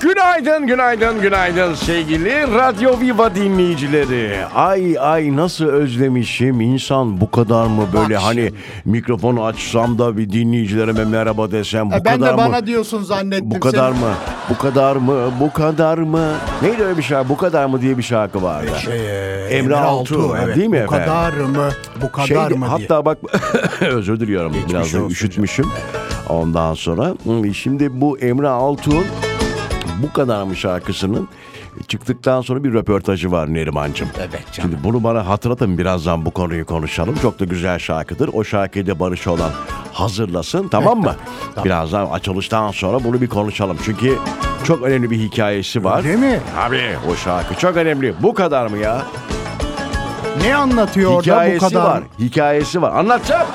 Günaydın, günaydın, günaydın sevgili Radyo Viva dinleyicileri. Ay ay nasıl özlemişim insan bu kadar mı böyle Bak hani şimdi. mikrofonu açsam da bir dinleyicilerime merhaba desem bu E, ben kadar de mı? bana diyorsun zannettim. bu kadar Sen- mı? Bu kadar mı? Bu kadar mı? Neydi öyle bir şarkı? Bu kadar mı diye bir şarkı vardı. Şey, e, Emre Altuğ, değil mi bu efendim? kadar mı? Bu kadar Şeydi, mı Şey hatta diye. bak özür diliyorum biraz da olsun üşütmüşüm. Ondan sonra hı, şimdi bu Emre Altuğ'un bu kadar mı şarkısının çıktıktan sonra bir röportajı var Neriman'cığım. Evet canım. Şimdi bunu bana hatırlatın birazdan bu konuyu konuşalım. Çok da güzel şarkıdır. O şarkıyı da Barış olan hazırlasın tamam mı? Birazdan açılıştan sonra bunu bir konuşalım. Çünkü çok önemli bir hikayesi var. Öyle mi? Abi o şarkı çok önemli. Bu kadar mı ya? Ne anlatıyor da bu Hikayesi kadar? var. Hikayesi var. Anlatacağım.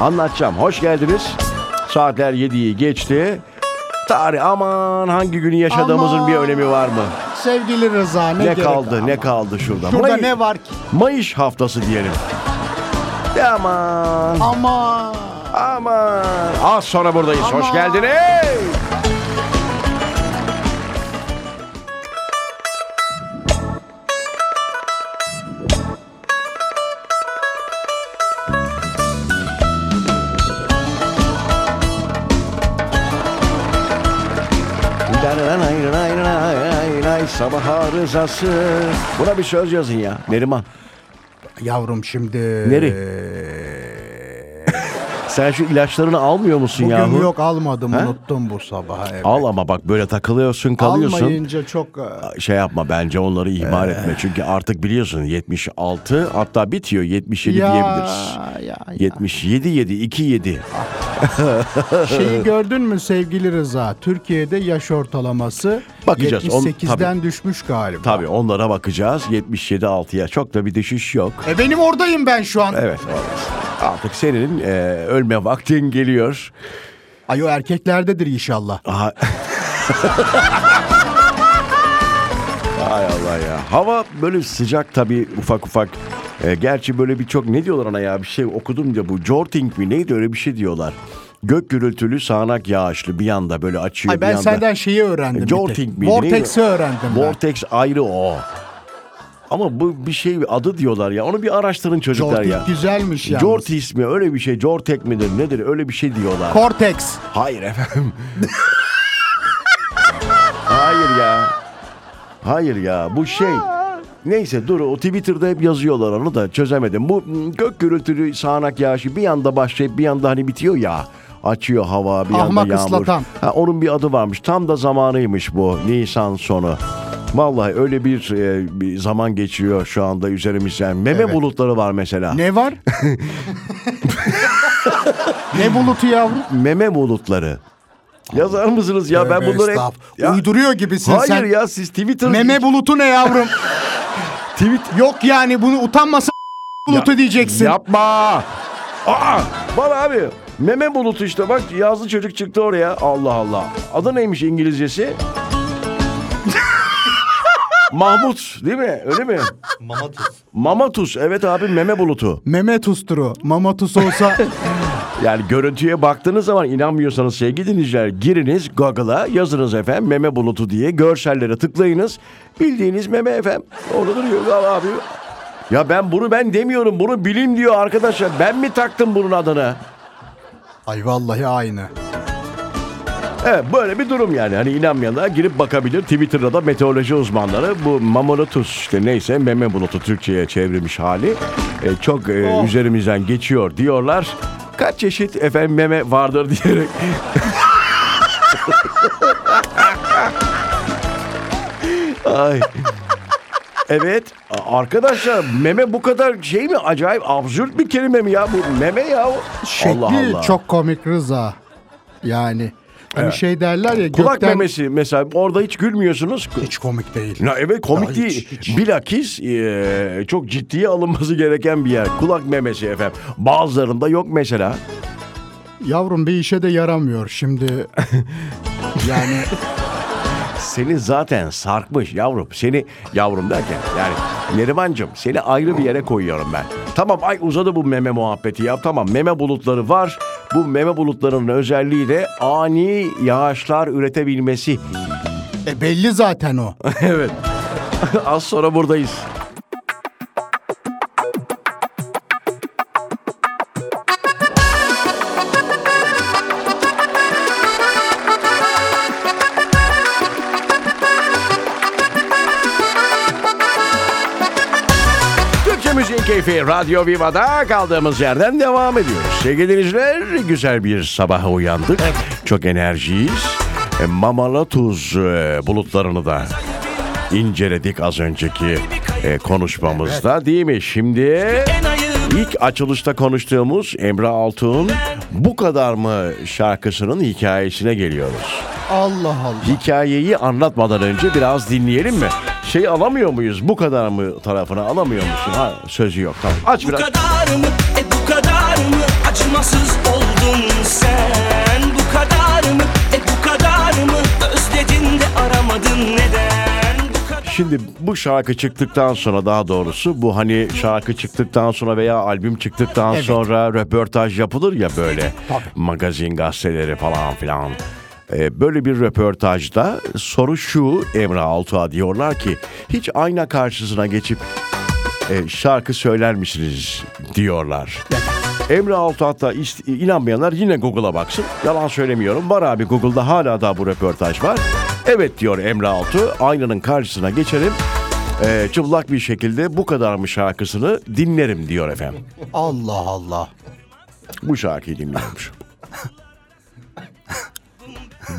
Anlatacağım. Hoş geldiniz. Saatler 7'yi geçti. Tarih aman hangi günü yaşadığımızın Aman. bir önemi var mı? Sevgili Rıza ne, Ne, gerek kaldı? var? Ne kaldı şurada? Şurada May- ne var ki? Mayış haftası diyelim. De Aman. Ama Aman. Az sonra buradayız. Hoş Aman. geldiniz. Sabah rızası. Buna bir söz yazın ya. Neriman. yavrum şimdi Sen şu ilaçlarını almıyor musun bugün yahu? yok almadım He? unuttum bu sabah. Evet. Al ama bak böyle takılıyorsun kalıyorsun. Almayınca çok e, Şey yapma bence onları ihmal Ee. etme. Çünkü artık biliyorsun 76 hatta bitiyor 77 Ya, diyebiliriz. ya, ya. 77 7 2 7. şeyi gördün mü sevgili Rıza? Türkiye'de yaş ortalaması Bakacağız, on- 78'den düşmüş galiba. Tabii onlara bakacağız. 77 6'ya çok da bir düşüş yok. E benim oradayım ben şu an. Evet. evet. Artık senin e, ölme vaktin geliyor. Ay o erkeklerdedir inşallah. Aha. Hay Allah ya. Hava böyle sıcak tabii ufak ufak. E, gerçi böyle birçok ne diyorlar ona ya bir şey okudum ya bu jorting mi neydi öyle bir şey diyorlar. Gök gürültülü sağanak yağışlı bir anda böyle açıyor Ay bir ben anda. senden şeyi öğrendim. bir tek. Jorting miydi? Vortex'i neydi? öğrendim ben. Vortex ayrı o. Ama bu bir şey adı diyorlar ya. Onu bir araştırın çocuklar Jorting ya. güzelmiş şey yalnız. Jort ismi öyle bir şey. Jortek midir nedir öyle bir şey diyorlar. Cortex. Hayır efendim. Hayır ya. Hayır ya bu şey. Neyse dur o Twitter'da hep yazıyorlar onu da çözemedim. Bu mm, gök gürültülü sağanak yağışı bir yanda başlayıp bir yanda hani bitiyor ya. Açıyor hava bir Ahmak yanda yağmur. ıslatan. Ha, onun bir adı varmış. Tam da zamanıymış bu Nisan sonu. Vallahi öyle bir, e, bir zaman geçiyor şu anda üzerimizden. Meme Evet. bulutları var mesela. Ne var? ne bulutu yavrum? Meme bulutları. Yazar mısınız ya ben Tövbe bunları hep... estağfurullah. Ya- Uyduruyor gibisin Hayır sen. ya siz Twitter Meme bulutu ne yavrum? tweet Yok yani bunu utanmasın bulutu diyeceksin. yapma. Aa bana abi meme bulutu işte bak yazlı çocuk çıktı oraya. Allah Allah. Adı neymiş İngilizcesi? Mahmut değil mi? Öyle mi? Mamatus. Mamatus. Evet abi meme bulutu. Meme tusturu. Mamatus olsa Yani görüntüye baktığınız zaman inanmıyorsanız sevgili dinleyiciler giriniz Google'a yazınız efendim meme bulutu diye görsellere tıklayınız. Bildiğiniz meme efendim. Orada duruyor Al abi. Ya ben bunu ben demiyorum bunu bilim diyor arkadaşlar. Ben mi taktım bunun adını? ay vallahi aynı. Evet böyle bir durum yani. Hani inanmayanlar girip bakabilir. Twitter'da da meteoroloji uzmanları bu mamalatus işte neyse meme bulutu Türkçe'ye çevrilmiş hali e, çok e, Oh. üzerimizden geçiyor diyorlar. Kaç çeşit efendim meme vardır diyerek. Ay. Evet a- arkadaşlar meme bu kadar şey mi acayip absürt bir kelime mi ya bu meme ya Şekli Allah Allah. çok komik Rıza. Yani hani şey derler ya Kulak gökten memesi mesela orada hiç gülmüyorsunuz. hiç komik değil. Ya evet komik Ya hiç, değil. hiç. Bilakis eee, çok ciddiye alınması gereken bir yer. Kulak memesi efendim. Bazılarında yok mesela. Yavrum bir işe de yaramıyor şimdi. yani Seni zaten sarkmış yavrum. Seni yavrum derken yani Nerimancığım seni ayrı bir yere koyuyorum ben. Tamam ay uzadı bu meme muhabbeti ya. Tamam meme bulutları var. Bu meme bulutlarının özelliği de ani yağışlar üretebilmesi. E belli zaten o. evet. Az sonra buradayız. Türkçe Müziğin Keyfi Radyo Viva'da kaldığımız yerden devam ediyoruz. Sevgili dinleyiciler güzel bir sabaha uyandık. Çok enerjiyiz. E, Mamala tuz e, bulutlarını da inceledik az önceki e, konuşmamızda değil mi? Şimdi ilk açılışta konuştuğumuz Emre Altun'un Bu Kadar mı şarkısının hikayesine geliyoruz. Allah Allah. Hikayeyi anlatmadan önce biraz dinleyelim mi? Şey alamıyor muyuz? Bu kadar mı tarafına alamıyor musun? Ha sözü yok. Tamam. Aç Bu biraz. kadar mı? E bu kadar mı? Acımasız oldun sen. Bu kadar mı? E bu kadar mı? Özledin de aramadın neden? Bu kadar Şimdi bu şarkı çıktıktan sonra daha doğrusu bu hani şarkı çıktıktan sonra veya albüm çıktıktan sonra röportaj yapılır ya böyle magazin gazeteleri falan filan. Ee, böyle bir röportajda soru şu Emre Altuğ'a diyorlar ki hiç ayna karşısına geçip e, şarkı söyler misiniz diyorlar. Emre Altuğ hatta is- inanmayanlar yine Google'a baksın. Yalan söylemiyorum. Var abi Google'da hala daha bu röportaj var. Evet diyor Emre Altuğ. Aynanın karşısına geçerim. E, çıplak bir şekilde bu kadar mı şarkısını dinlerim diyor efendim. Allah Allah. Bu şarkıyı dinliyormuş.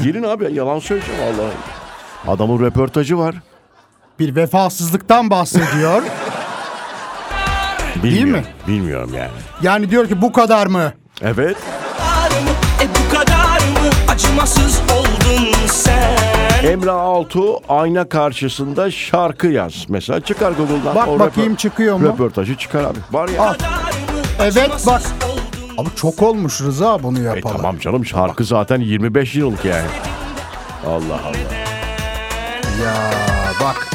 Girin abi yalan söyleyeceğim vallahi. Adamın röportajı var. Bir vefasızlıktan bahsediyor. Bilmiyorum. mi? Bilmiyorum yani. yani diyor ki bu kadar mı? Evet. mı? E bu kadar mı? Acımasız oldun sen. Emre Altuğ ayna karşısında şarkı yaz. Mesela çıkar Google'dan. Bak O bakayım çıkıyor mu? Röportajı çıkar abi. Var ya. Bu kadar mı? Evet, Acımasız bak. oldun Abi çok olmuş Rıza bunu E yapalım. tamam canım şarkı zaten 25 yıllık yani. Allah Allah. Ya bak.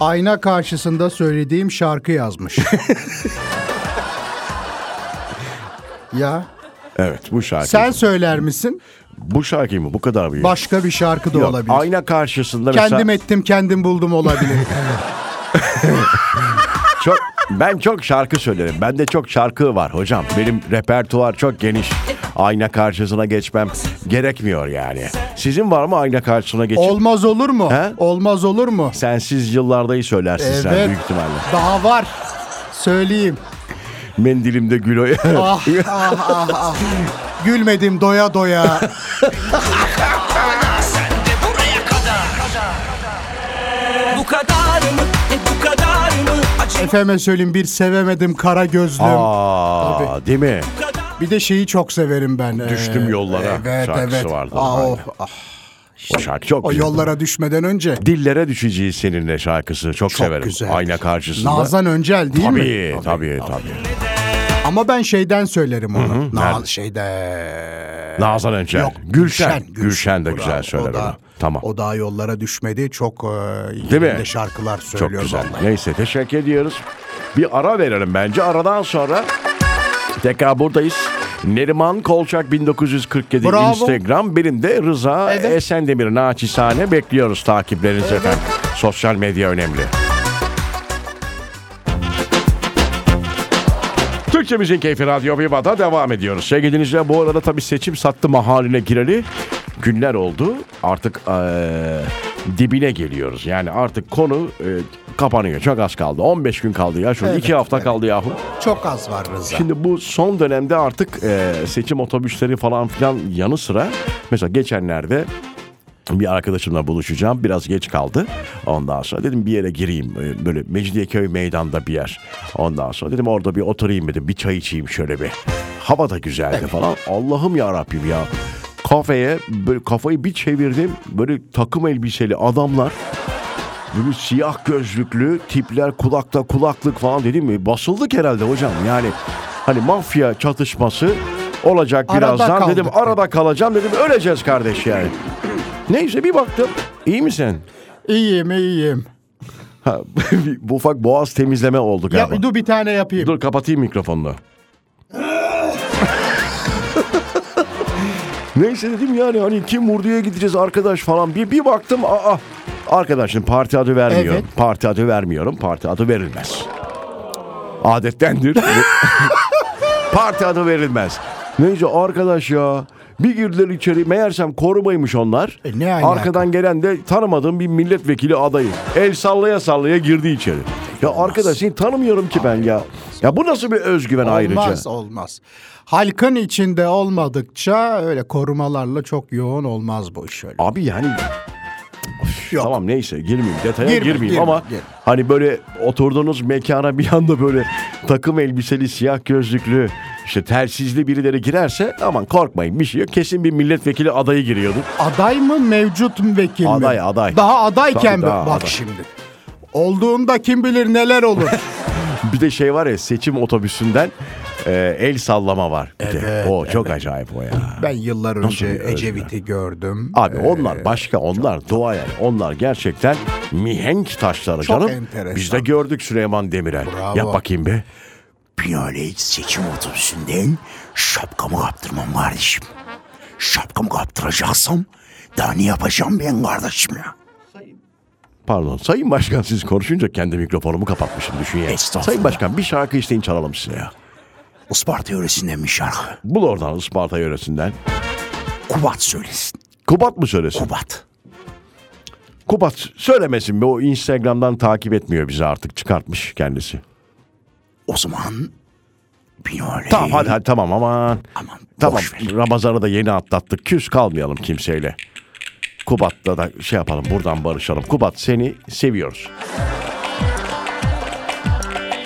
Ayna karşısında söylediğim şarkı yazmış. ya Evet bu şarkı. sen söyler misin? Bu şarkı mı? Bu kadar mı? Başka bir şarkı da Yok, olabilir. Ayna karşısında mesela. Kendim ettim kendim buldum olabilir. Çok, ben çok şarkı söylerim. Bende çok şarkı var hocam. Benim repertuar çok geniş. Ayna karşısına geçmem gerekmiyor yani. Sizin var mı ayna karşısına geçip? Olmaz olur mu? He? Olmaz olur mu? Sensiz yıllardayı söylersin sen Evet. büyük ihtimalle. Daha var. Söyleyeyim. Mendilimde gül oy- Ah ah ah ah. Gülmedim doya doya. sen de buraya kadar. Bu kadar mı? E bu kadar mı? Acımasız Efeme söyleyeyim bir sevemedim kara gözlüm. Aa, Tabii. değil mi? kadar Bir de şeyi çok severim ben. Ee, Düştüm yollara Evet şarkısı evet. vardı. Aa, o, Aynen. ah, O şarkı çok o güzel. yollara düşmeden önce. Dillere düşeceğiz seninle şarkısı. Çok, Çok severim. güzel. Ayna karşısında. Nazan Öncel değil tabii, mi? tabii, tabii, tabii. Ama ben şeyden söylerim onu. nerede? Na- şeyde. Nazan Öncel. Yok, Gülşen. Gülşen, de Bravo, güzel söyler o da- onu. Tamam. O daha yollara düşmedi. Çok Değil değil mi? mi? şarkılar Çok söylüyor. güzel. vallahi. Neyse teşekkür ediyoruz. Bir ara verelim bence. Aradan sonra tekrar buradayız. Neriman Kolçak 1947 Bravo. Instagram. Benim de Rıza Evet. Esendemir naçizane bekliyoruz takiplerinizi efendim. Sosyal medya önemli. Türkçe Müziğin Keyfi Radyo Viva'da devam ediyoruz. Sevgili dinleyiciler bu arada tabii seçim sattı mahaline gireli günler oldu. Artık eee, dibine geliyoruz. Yani artık konu eee, kapanıyor. Çok az kaldı. 15 gün kaldı ya. Şurada 2 Evet, hafta evet. kaldı yahu. Çok az var Rıza. Şimdi bu son dönemde artık e, seçim otobüsleri falan filan yanı sıra mesela geçenlerde bir arkadaşımla buluşacağım. Biraz geç kaldı. Ondan sonra dedim bir yere gireyim. E, Böyle Mecidiyeköy meydanda bir yer. Ondan sonra dedim orada bir oturayım dedim. Bir çay içeyim şöyle bir. Hava da güzeldi falan. Allah'ım ya Rabbim ya. Kafeye böyle kafayı bir çevirdim. Böyle takım elbiseli adamlar Böyle siyah gözlüklü tipler kulakta kulaklık falan dedim mi? Basıldık herhalde hocam. Yani hani mafya çatışması olacak Arada birazdan kaldık dedim. dedi. Arada kalacağım dedim. Öleceğiz kardeş yani. Neyse bir baktım. İyi misin? İyiyim iyiyim. Ha, bir ufak boğaz temizleme oldu Ya, galiba. dur bir tane yapayım. Dur kapatayım mikrofonunu. Neyse dedim yani hani kim vurduya gideceğiz arkadaş falan. Bir, bir baktım aa arkadaşım parti adı vermiyorum. Evet. Parti adı vermiyorum. Parti adı verilmez. Adettendir. parti adı verilmez. Neyse arkadaş ya. Bir girdiler içeri. Meğersem korumaymış onlar. E, ne alaka? Arkadan gelen de tanımadığım bir milletvekili adayı. El sallaya sallaya girdi içeri. Ya arkadaş seni tanımıyorum ki ben ya. Ya bu nasıl bir özgüven ayrıca? Olmaz olmaz. Halkın içinde olmadıkça öyle korumalarla çok yoğun olmaz bu iş öyle. Abi yani Of, Yok. tamam neyse girmeyeyim detaya Girme, girmeyeyim girme, ama girme. hani böyle oturduğunuz mekana bir anda böyle takım elbiseli siyah gözlüklü işte telsizli birileri girerse aman korkmayın bir şey yok kesin bir milletvekili adayı giriyordu. Aday mı mevcut mu vekil mi? Aday, aday. Daha adayken Tabii, mi? daha Bak aday. şimdi. Olduğunda kim bilir neler olur. Bir de şey var ya seçim otobüsünden e, el sallama var. Bir de. o çok acayip o ya. ben yıllar bir önce özgüven? Ecevit'i gördüm. Abi onlar başka onlar dua yani. Onlar gerçekten mihenk taşları Çok canım. enteresan. Biz de gördük Süleyman Demirel. Bravo. Yap bakayım be. Binaenaleyh seçim otobüsünden şapkamı kaptırmam kardeşim. Şapkamı kaptıracaksam daha ne yapacağım ben kardeşim ya? Pardon. Sayın Başkan siz konuşunca kendi mikrofonumu kapatmışım düşün ya. Estağfurullah. Sayın Başkan bir şarkı isteyin çalalım size ya. Isparta yöresinden bir şarkı. Bul oradan Isparta yöresinden. Kubat söylesin. Kubat mı söylesin? Kubat. Kubat söylemesin be o Instagram'dan takip etmiyor bizi artık çıkartmış kendisi. O zaman binaenaleyh... Tamam hadi, hadi tamam aman. Aman Tamam boş ver. Ramazan'ı da yeni atlattık. Küs kalmayalım kimseyle. Kubat'la da şey yapalım buradan barışalım. Kubat seni seviyoruz.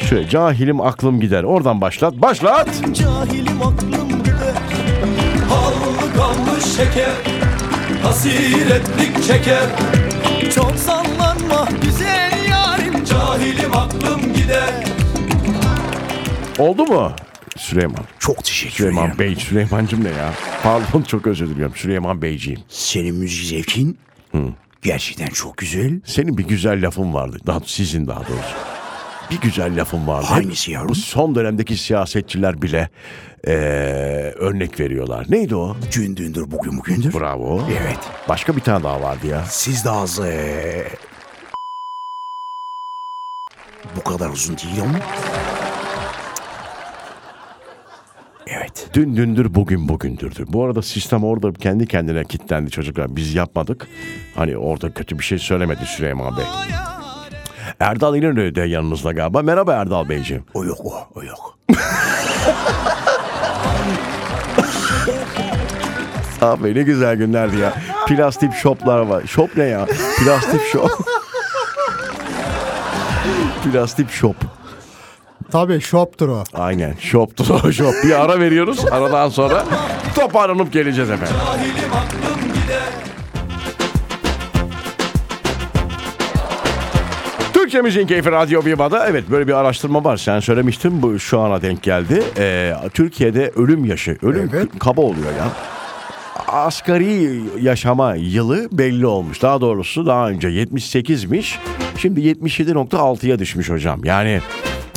Şöyle cahilim aklım gider. Oradan başlat. Başlat. Cahilim aklım gider Harlı kalmış şeker Hasiretlik çeker Çok sallanma güzel yarim Cahilim aklım gider Oldu mu? Süleyman. Çok teşekkür ederim. Süleyman Bey. Süleymancım ne ya? Pardon çok özür diliyorum. Süleyman Beyciğim. Senin müzik zevkin gerçekten çok güzel. Senin bir güzel lafın vardı. Daha sizin daha doğrusu. Bir güzel lafın vardı. Hangisi yavrum? Bu son dönemdeki siyasetçiler bile eee, örnek veriyorlar. Neydi o? Dün dündür bugün bugündür. Bravo. Evet. Başka bir tane daha vardı ya. Siz de az e, eee, bu kadar uzun değil ama. Evet. Dün dündür bugün bugündürdü. Bu arada sistem orada kendi kendine kilitlendi çocuklar. Biz yapmadık. Hani orada kötü bir şey söylemedi Süleyman Bey. Erdal İnönü de yanınızda galiba. Merhaba Erdal Beyciğim. O yok o, o yok. Abi ne güzel günlerdi ya. Plastik şoplar var. Şop ne ya? Plastik şop. Plastik şop. Tabii şoptur o. Aynen. Şoptu o şop. Bir ara veriyoruz. Aradan sonra toparlanıp geleceğiz efendim. Cahilim aklım gider Türkçe Müziğin Keyfi Radyo Viva'da evet böyle bir araştırma var. Sen söylemiştin bu şu ana denk geldi. Ee, Türkiye'de ölüm yaşı, ölüm Evet. kaba oluyor ya. Asgari yaşama yılı belli olmuş. Daha doğrusu daha önce 78'miş. Şimdi 77.6'ya düşmüş hocam. Yani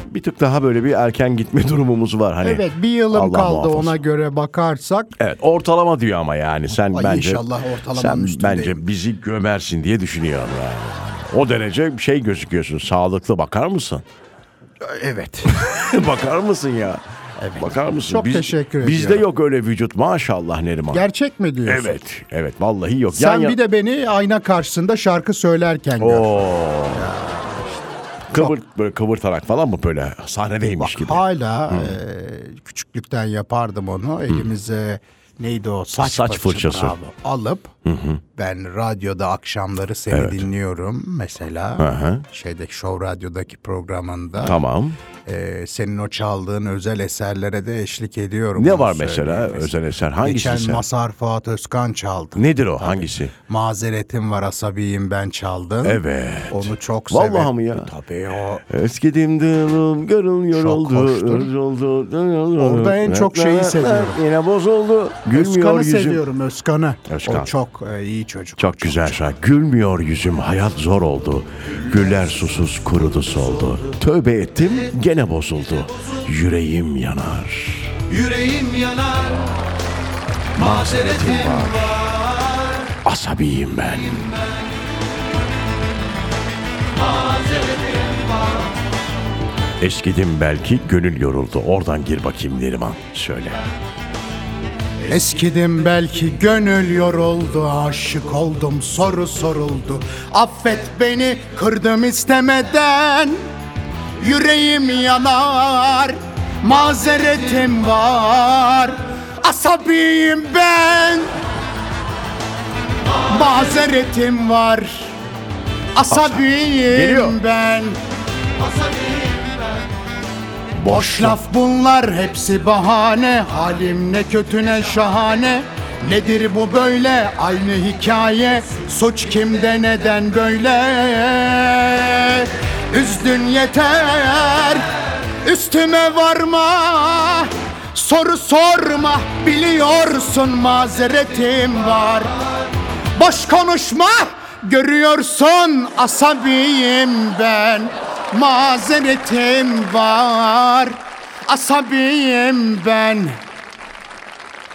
bir tık daha böyle bir erken gitme durumumuz var. Hani Evet bir yılım Allah kaldı muhafaza. ona göre bakarsak. Evet ortalama diyor ama yani sen Ay bence inşallah ortalamanın sen üstündeyim. bence bizi gömersin diye düşünüyorum yani. O derece şey gözüküyorsun. Sağlıklı bakar mısın? Evet. Bakar mısın ya? Bakar mısın? Çok teşekkür Bizde ediyorum. yok öyle vücut maşallah Neriman. Gerçek mi diyorsun? evet. Evet vallahi yok. Sen Yan yana- bir de beni ayna karşısında şarkı söylerken gör. Kıvır, böyle kıvırtarak falan mı böyle sahnedeymiş gibi. Hala e, küçüklükten yapardım onu. Elimize neydi o saç, Saç fırçası. bravo, alıp ben radyoda akşamları seni dinliyorum mesela. hı. Şeydeki Show Radyo'daki programında. Tamam. e, senin o çaldığın özel eserlere de eşlik ediyorum. Ne onu var mesela söyleyeyim. özel eser? Hangisi Geçen sen? Masar Fuat Özkan çaldı. Nedir o? Hangisi? Mazeretim var asabiyim ben çaldım. Evet. Onu çok Vallahi severim. mi ya? Tabii o. Eskidim durum görün yoruldu. hoştur. yoruldu. Orada en çok şeyi seviyorum. Yine bozuldu. Gülmüyor Özkan'ı yüzüm. seviyorum Özkan'ı. Özkan. O çok e, iyi çocuk. Çok güzel şarkı. Gülmüyor yüzüm hayat zor oldu. Güller susuz kurudu soldu. Tövbe ettim gene bozuldu. Yüreğim yanar. Yüreğim yanar mazeretim var. Asabiyim ben. Eskidim belki gönül yoruldu. Oradan gir bakayım Neriman. Söyle. Eskidim belki gönül yoruldu Aşık oldum soru soruldu Affet beni kırdım istemeden Yüreğim yanar Mazeretim var Asabiyim ben Mazeretim var Geliyor. Asabiyim ben Boş laf bunlar hepsi bahane Halim ne kötü ne şahane Nedir bu böyle aynı hikaye Suç kimde neden böyle Üzdün yeter Üstüme varma Soru sorma Biliyorsun mazeretim var Boş konuşma Görüyorsun asabiyim ben Mazeretim var Asabiyim ben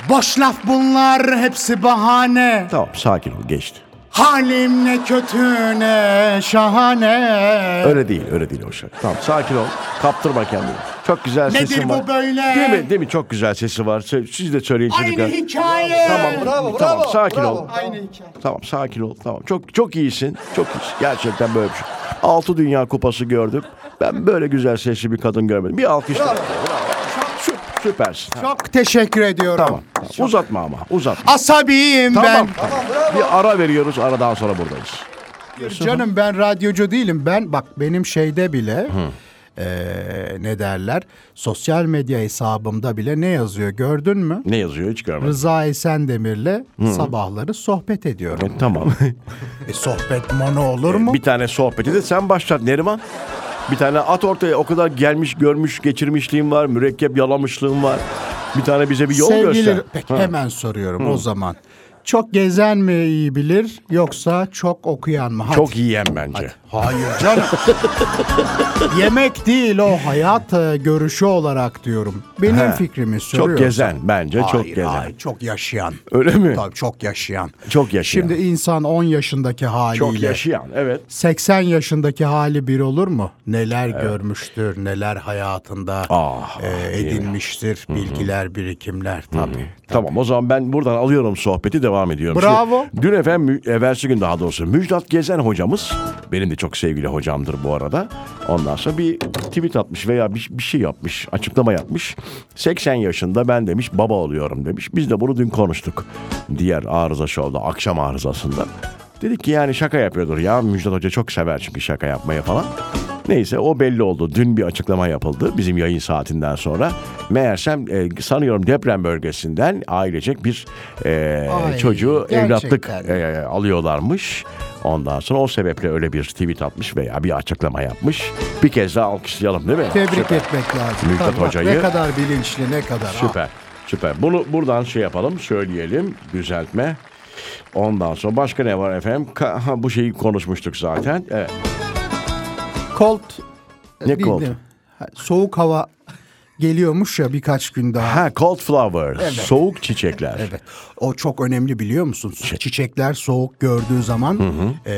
Boş laf bunlar hepsi bahane Tamam sakin ol geçti. Halim ne kötü ne şahane Öyle değil öyle değil o şey. Tamam sakin ol. Kaptırma kendini. Çok güzel Nedir sesin bu var. böyle? Değil mi? Değil mi? Çok güzel sesi var. Se- Siz de söyleyin Aynı çocuklar. hikaye şey Tamam, tamam, sakin ol. Aynı hikaye Tamam, sakin ol. Tamam, çok çok iyisin, çok iyisin. Gerçekten böyle bir şey. Altı Dünya Kupası gördüm. Ben böyle güzel sesli bir kadın görmedim. Bir alkış. Bravo. Sü- Süpersin. Ha, Çok teşekkür ediyorum Tamam. tamam. Uzatma ama, uzatma. Asabiyim Tamam. ben tamam. Bir ara veriyoruz, aradan sonra buradayız. Canım ben radyocu değilim. Ben bak benim şeyde bile eee, ne derler? Sosyal medya hesabımda bile ne yazıyor gördün mü? Ne yazıyor hiç görmedim. Rıza Esendemir'le sabahları sohbet ediyorum. E, tamam. E, sohbet mono olur mu? E, bir tane sohbeti de sen başlat Neriman. Bir tane at ortaya o kadar gelmiş, görmüş, geçirmişliğim var, mürekkep yalamışlığım var. Bir tane bize bir yol göster. Peki, hemen soruyorum o zaman. Çok gezen mi iyi bilir yoksa çok okuyan mı? Hadi. Çok yiyen bence. Hayır canım. Yemek değil o hayat e, görüşü olarak diyorum. Benim He. fikrimi Çok söylüyorum. gezen bence çok Hayır, gezen. hayır, çok yaşayan. Öyle mi? Tabii çok yaşayan. Çok yaşayan. Şimdi insan 10 yaşındaki haliyle Çok yaşayan evet. 80 yaşındaki hali bir olur mu? Neler görmüştür, neler hayatında Ah, e, edinmiştir, bilgiler, birikimler tabii. Tamam o zaman ben buradan alıyorum sohbeti devam ediyorum. Bravo. Şimdi, dün efendim mü- evvelsi gün daha doğrusu Müjdat Gezen hocamız benim de çok sevgili hocamdır bu arada. Ondan sonra bir tweet atmış veya bir, bir şey yapmış açıklama yapmış. 80 yaşında ben demiş baba oluyorum demiş. Biz de bunu dün konuştuk diğer arıza şovda akşam arızasında. Dedik ki yani şaka yapıyordur ya Müjdat Hoca çok sever çünkü şaka yapmaya falan. Neyse o belli oldu. Dün bir açıklama yapıldı bizim yayın saatinden sonra. Meğersem e, sanıyorum deprem bölgesinden ailecek bir e, Ay, çocuğu gerçekten. evlatlık e, alıyorlarmış. Ondan sonra o sebeple öyle bir tweet atmış veya bir açıklama yapmış. Bir kez daha alkışlayalım değil mi? Tebrik Süper. etmek lazım. Mülkat Tabii bak, Hoca'yı- Ne kadar bilinçli, ne kadar. Ah, Süper. Süper. Bunu buradan şey yapalım, söyleyelim, düzeltme. Ondan sonra başka ne var efendim? Ka- ha, bu şeyi konuşmuştuk zaten. Evet. Kolt. Ne cold? Soğuk hava geliyormuş ya birkaç gün daha. Ha, cold flowers, soğuk çiçekler. Evet. O çok önemli biliyor musun? Şey- Çiçekler soğuk gördüğü zaman e,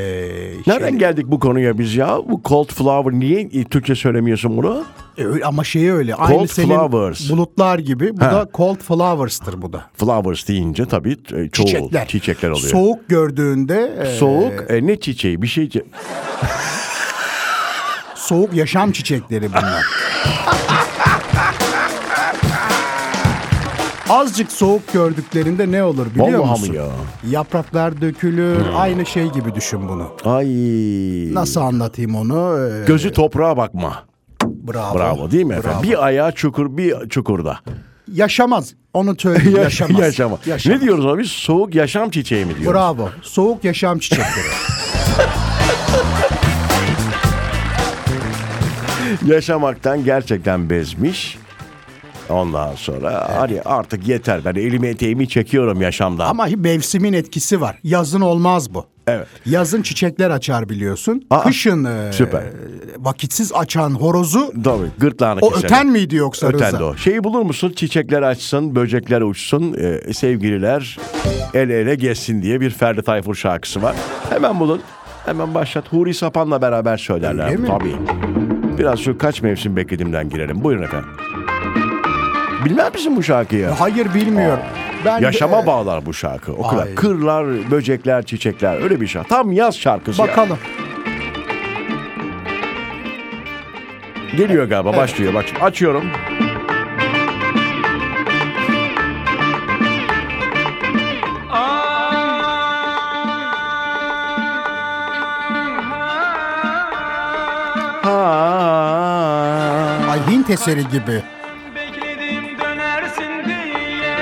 Nereden şey- geldik bu konuya biz ya? Bu cold flower niye e, Türkçe söylemiyorsun bunu? E, öyle- ama şeyi öyle. Aynı Cold senin flowers. bulutlar gibi. Bu da cold flowers'tır bu da. Flowers deyince tabii e, çoğu Çiçekler. çiçekler, oluyor. Soğuk, Soğuk gördüğünde e, e, ne çiçeği? Bir şey çi- soğuk yaşam çiçekleri bunlar. Azıcık soğuk gördüklerinde ne olur biliyor Vallahi musun? mi ya? Hmm. Yapraklar dökülür. Aynı şey gibi düşün bunu. Ay. Nasıl anlatayım onu? E, Gözü toprağa bakma. bravo. Bravo değil mi efendim? Bravo. Bir ayağı çukur, bir çukurda. Yaşamaz. Onu söyleyeyim. Yaşamaz. Yaşama. Yaşamaz. Ne diyoruz ona biz? Soğuk yaşam çiçeği mi diyoruz? Bravo. Soğuk yaşam çiçekleri. Yaşamaktan gerçekten bezmiş. Ondan sonra hani artık yeter ben elimi eteğimi çekiyorum yaşamdan. Ama mevsimin etkisi var. Yazın olmaz bu. Evet. Yazın çiçekler açar biliyorsun. Aa, Kışın e, süper. vakitsiz açan horozu Tabii gırtlağını o keserim. öten miydi yoksa Öten Rıza? de o. Şeyi bulur musun? Çiçekler açsın, böcekler uçsun, e, sevgililer el ele geçsin diye bir Ferdi Tayfur şarkısı var. Hemen bulun. Hemen başlat. Huri Sapan'la beraber söylerler. Öyle mi? Tabii. Biraz şu kaç mevsim beklediğimden girelim. Buyurun efendim. Bilmez misin bu şarkıyı? Hayır bilmiyorum. Ben Yaşama e, bağlar bu şarkı. O Ay. kadar. Kırlar, böcekler, çiçekler. Öyle bir şarkı. Tam yaz şarkısı ya. Bakalım. Geliyor galiba başlıyor bak şimdi açıyorum. Ha. Ay Hint eseri gibi. Bekledim dönersin diye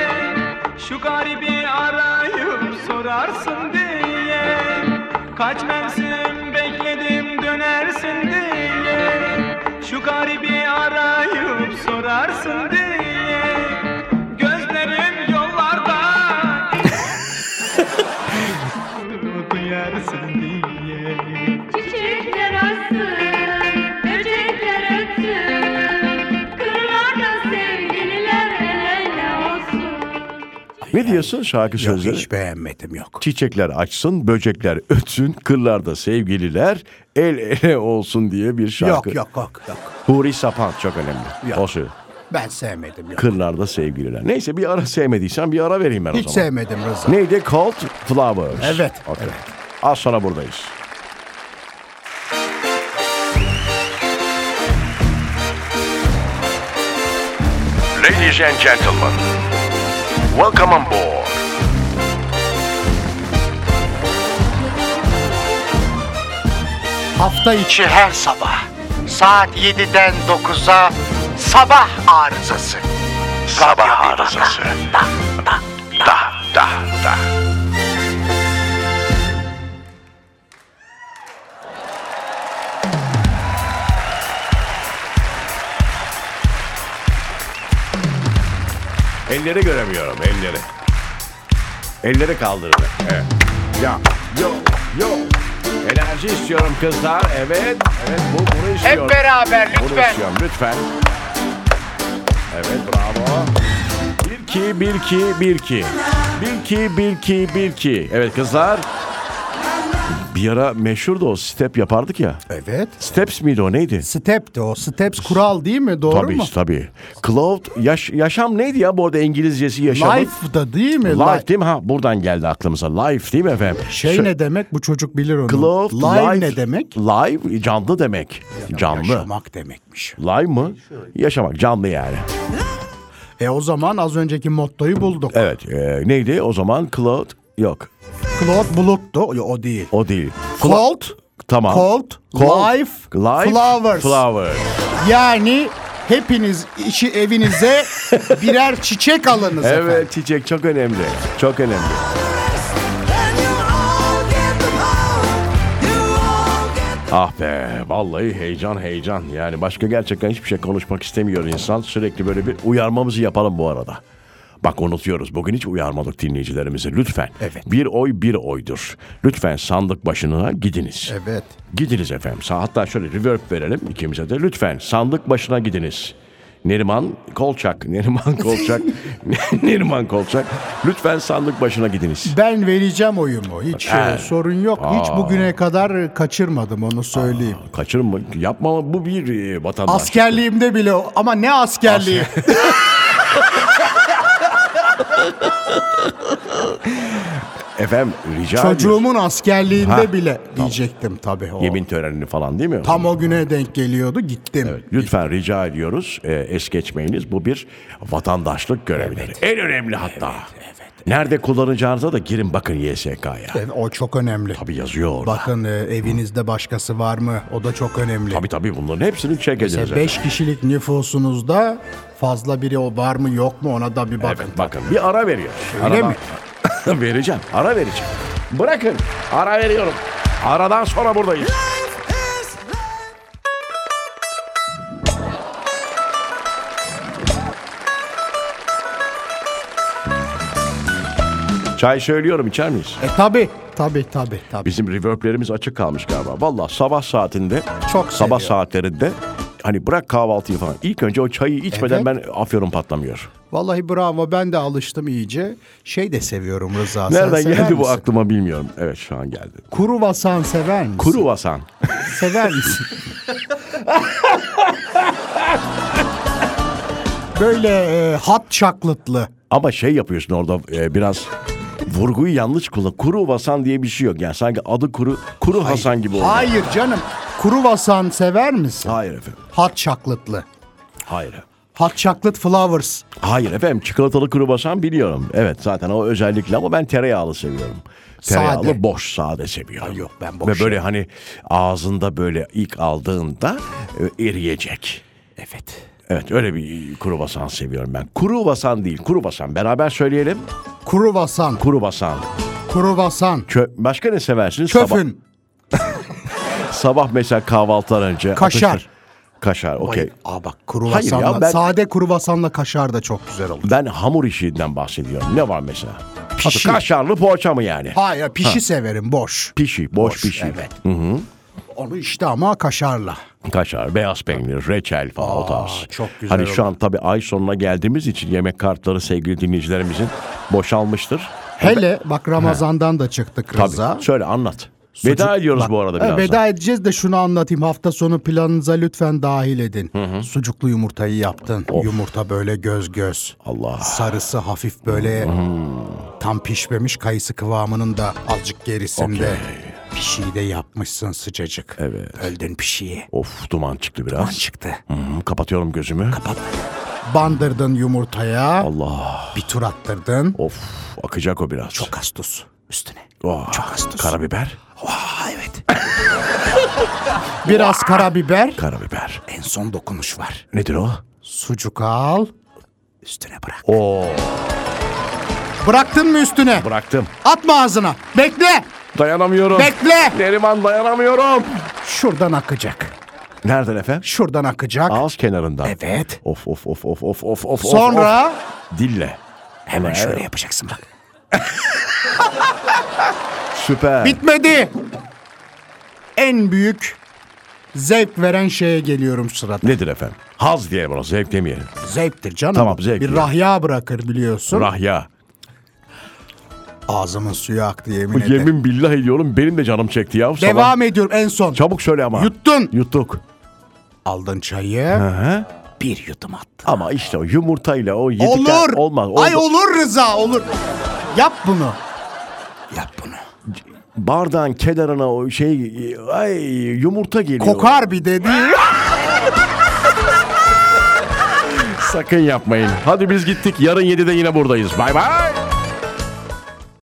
Şu garibi arayıp sorarsın diye Kaç mevsim bekledim dönersin diye Şu garibi arayıp sorarsın diye Gözlerim yollarda Gurur duyarsın diye Çiçekler açsın, böcekler ötsün, kırlarda sevgililer el ele olsun. Ne diyorsun şarkı Yok sözleri? hiç beğenmedim yok. Çiçekler açsın, böcekler ötsün, kırlarda sevgililer el ele olsun diye bir şarkı. Yok yok yok yok. Huri Sapan çok önemli. Yok. O şey. Ben sevmedim yok. Kırlarda sevgililer. Neyse bir ara sevmediysen bir ara vereyim ben o Hiç zaman. sevmedim Rıza. Neydi? Cold Flowers. Evet, Okey. evet. Az sonra buradayız. Ladies and gentlemen, welcome on board. Hafta içi Gerçi her sabah saat 7'den 9'a sabah arızası. Sabah arızası. Elleri göremiyorum, elleri. Elleri kaldırın. Evet. Ya, yo, yo. Enerji istiyorum kızlar. Evet, evet bu bunu istiyorum. Hep beraber Bunu lütfen. istiyorum lütfen. Evet bravo. 1 2 1 2 1 2. 1 2 1 2 1 2. Evet kızlar. Bir ara meşhurdu o step yapardık ya. Evet. Steps miydi o neydi? Step de o. Steps kural değil mi? Doğru tabii mu? tabii. Cloud yaş, yaşam neydi ya bu arada İngilizcesi yaşamın? Life da değil mi? Life değil mi? Ha buradan geldi aklımıza. Life değil mi efendim? Şey ne demek? Bu çocuk bilir onu. Cloud, Live life- ne demek? Live canlı demek. Canlı. Yaşamak demekmiş. Live mı? Yaşamak canlı yani. E o zaman az önceki mottoyu bulduk. Evet. e, neydi o zaman? Cloud yok. Cloud buluttu. Yo, O değil. O değil. Cold. Tamam. Cold, life, life, flowers. flowers. Yani hepiniz işi evinize birer çiçek alınız efendim. Evet çiçek çok önemli. Çok önemli. Ah be vallahi heyecan heyecan yani başka gerçekten hiçbir şey konuşmak istemiyor insan sürekli böyle bir uyarmamızı yapalım bu arada. Bak unutuyoruz bugün hiç uyarmadık dinleyicilerimizi lütfen. Evet. Bir oy bir oydur. Lütfen sandık başına gidiniz. Evet. Gidiniz efendim. Sa- Hatta şöyle reverb verelim ikimize de. Lütfen sandık başına gidiniz. Neriman Kolçak, Neriman Kolçak, Neriman Kolçak. Lütfen sandık başına gidiniz. Ben vereceğim oyumu. Hiç e, Ha. sorun yok. Hiç bugüne kadar kaçırmadım onu söyleyeyim. Kaçırma, yapma bu bir e, vatandaş. Askerliğimde bile o- ama ne askerliği? Efendim rica ediyorum. Çocuğumun askerliğinde Ha, bile diyecektim tabii. O. Yemin törenini falan değil mi? Tam o güne denk geliyordu gittim. Evet, Lütfen rica ediyoruz e, es geçmeyiniz. Bu bir vatandaşlık görevidir. En önemli hatta. Nerede kullanacağınıza da girin bakın YSK'ya. E, O çok önemli. Tabii yazıyor orada. Bakın e, evinizde başkası var mı? O da çok önemli. Tabii tabii bunların hepsini check ediniz. efendim. 5 kişilik nüfusunuzda fazla biri o var mı yok mu ona da bir bakın. Evet, bakın bir ara veriyor. Öyle Aradan- vereceğim. Ara vereceğim. Bırakın. Ara veriyorum. Aradan sonra buradayız. Çay söylüyorum içer miyiz? E tabi tabi tabi tabi. Bizim reverblerimiz açık kalmış galiba. Valla sabah saatinde, sabah Çok seviyorum. saatlerinde hani bırak kahvaltıyı falan. İlk önce o çayı içmeden ben afyonum patlamıyor. Vallahi bravo ben de alıştım iyice. Şey de seviyorum Rıza. sen Nereden sever geldi bu misin? aklıma bilmiyorum. Evet şu an geldi. Kuru vasan sever misin? Kuru vasan. Sever misin? Böyle e, hat çaklıtlı. Ama şey yapıyorsun orada e, biraz vurguyu yanlış kullan. Kuru vasan diye bir şey yok. Yani sanki adı kuru, kuru Hasan gibi oldu. Hayır canım. Kuru vasan sever misin? Hayır efendim. Hat çaklıtlı. Hayır. Hot chocolate flowers. Hayır efendim çikolatalı kuru basan biliyorum. Evet zaten o özellikle ama ben tereyağlı seviyorum. Tereyağlı Sade. boş sade seviyorum. Ay yok, ben boş Ve böyle hani ağzında böyle ilk aldığında e, eriyecek. Evet. Evet öyle bir kuru basan seviyorum ben. Kuru basan değil kuru basan beraber söyleyelim. Kuru vasan. Kuru basan. Kuru vasan. Kö- Başka ne seversiniz? Sabah, Köfün. sabah mesela kahvaltıdan önce. Kaşar. atıştır- Kaşar okey. Aa bak kuru Hayır ya, vasanla. ben- Sade kuru vasanla kaşar da çok güzel olur. Ben hamur işinden bahsediyorum. Ne var mesela? Pişi. Kaşarlı poğaça mı yani? Hayır pişi severim boş. Pişi, boş, pişi. Evet. Onu işte ama kaşarla. Kaşar, beyaz peynir, reçel falan o tarz. çok güzel Hani şu an tabii ay sonuna geldiğimiz için yemek kartları sevgili dinleyicilerimizin boşalmıştır. Hele bak Ramazan'dan da çıktık Tabii. Rıza. Şöyle anlat. Veda ediyoruz bu arada Ha, birazdan. e, Veda edeceğiz de şunu anlatayım. Hafta sonu planınıza lütfen dahil edin. Sucuklu yumurtayı yaptın. Yumurta böyle göz göz. Oh. Allah. Hmm. Sarısı hafif böyle tam pişmemiş kayısı kıvamının da azıcık gerisinde. Pişiyi de yapmışsın sıcacık. Evet. Öldün pişiyi. Of duman çıktı biraz. Çıktı. Hı, kapatıyorum gözümü. Bandırdın yumurtaya. Allah. Bir tur attırdın. Of akacak o biraz. Çok Kas tuz üstüne. Çok Karabiber. Ah, Biraz karabiber. Karabiber. En son dokunuş var. Nedir o? Sucuk al. Üstüne bırak. Oo Bıraktın mı üstüne? bıraktım. Atma ağzına. Bekle. Dayanamıyorum. Bekle. Neriman dayanamıyorum. Şuradan akacak. Nereden efendim? Şuradan akacak. Ağız kenarından. Evet. Of of of of of of of. Sonra of. dille. Hemen şöyle yapacaksın bak. Süper. bitmedi. En büyük zevk veren şeye geliyorum sırada. Nedir efendim? Haz diye buna zevk demeyelim. Zevktir canım. Tamam, zevk Bir ya. rahya bırakır biliyorsun. Rahya. Ağzımın suyu aktı yemin Bu ederim. yemin billah ediyorum benim de canım çekti ya. Sabah- Devam ediyorum en son. Çabuk söyle ama. Yuttun. Yuttuk. Aldın çayı. Bir yudum attı. Ama işte o yumurtayla o yedikler Olur. olmaz. Oldu. Ay olur Rıza olur. Yap bunu. Yap bunu. Bardağın kenarına o şey ay yumurta geliyor. Kokar bir dedi. Sakın yapmayın. Hadi biz gittik. Yarın 7'de yine buradayız. Bay bay.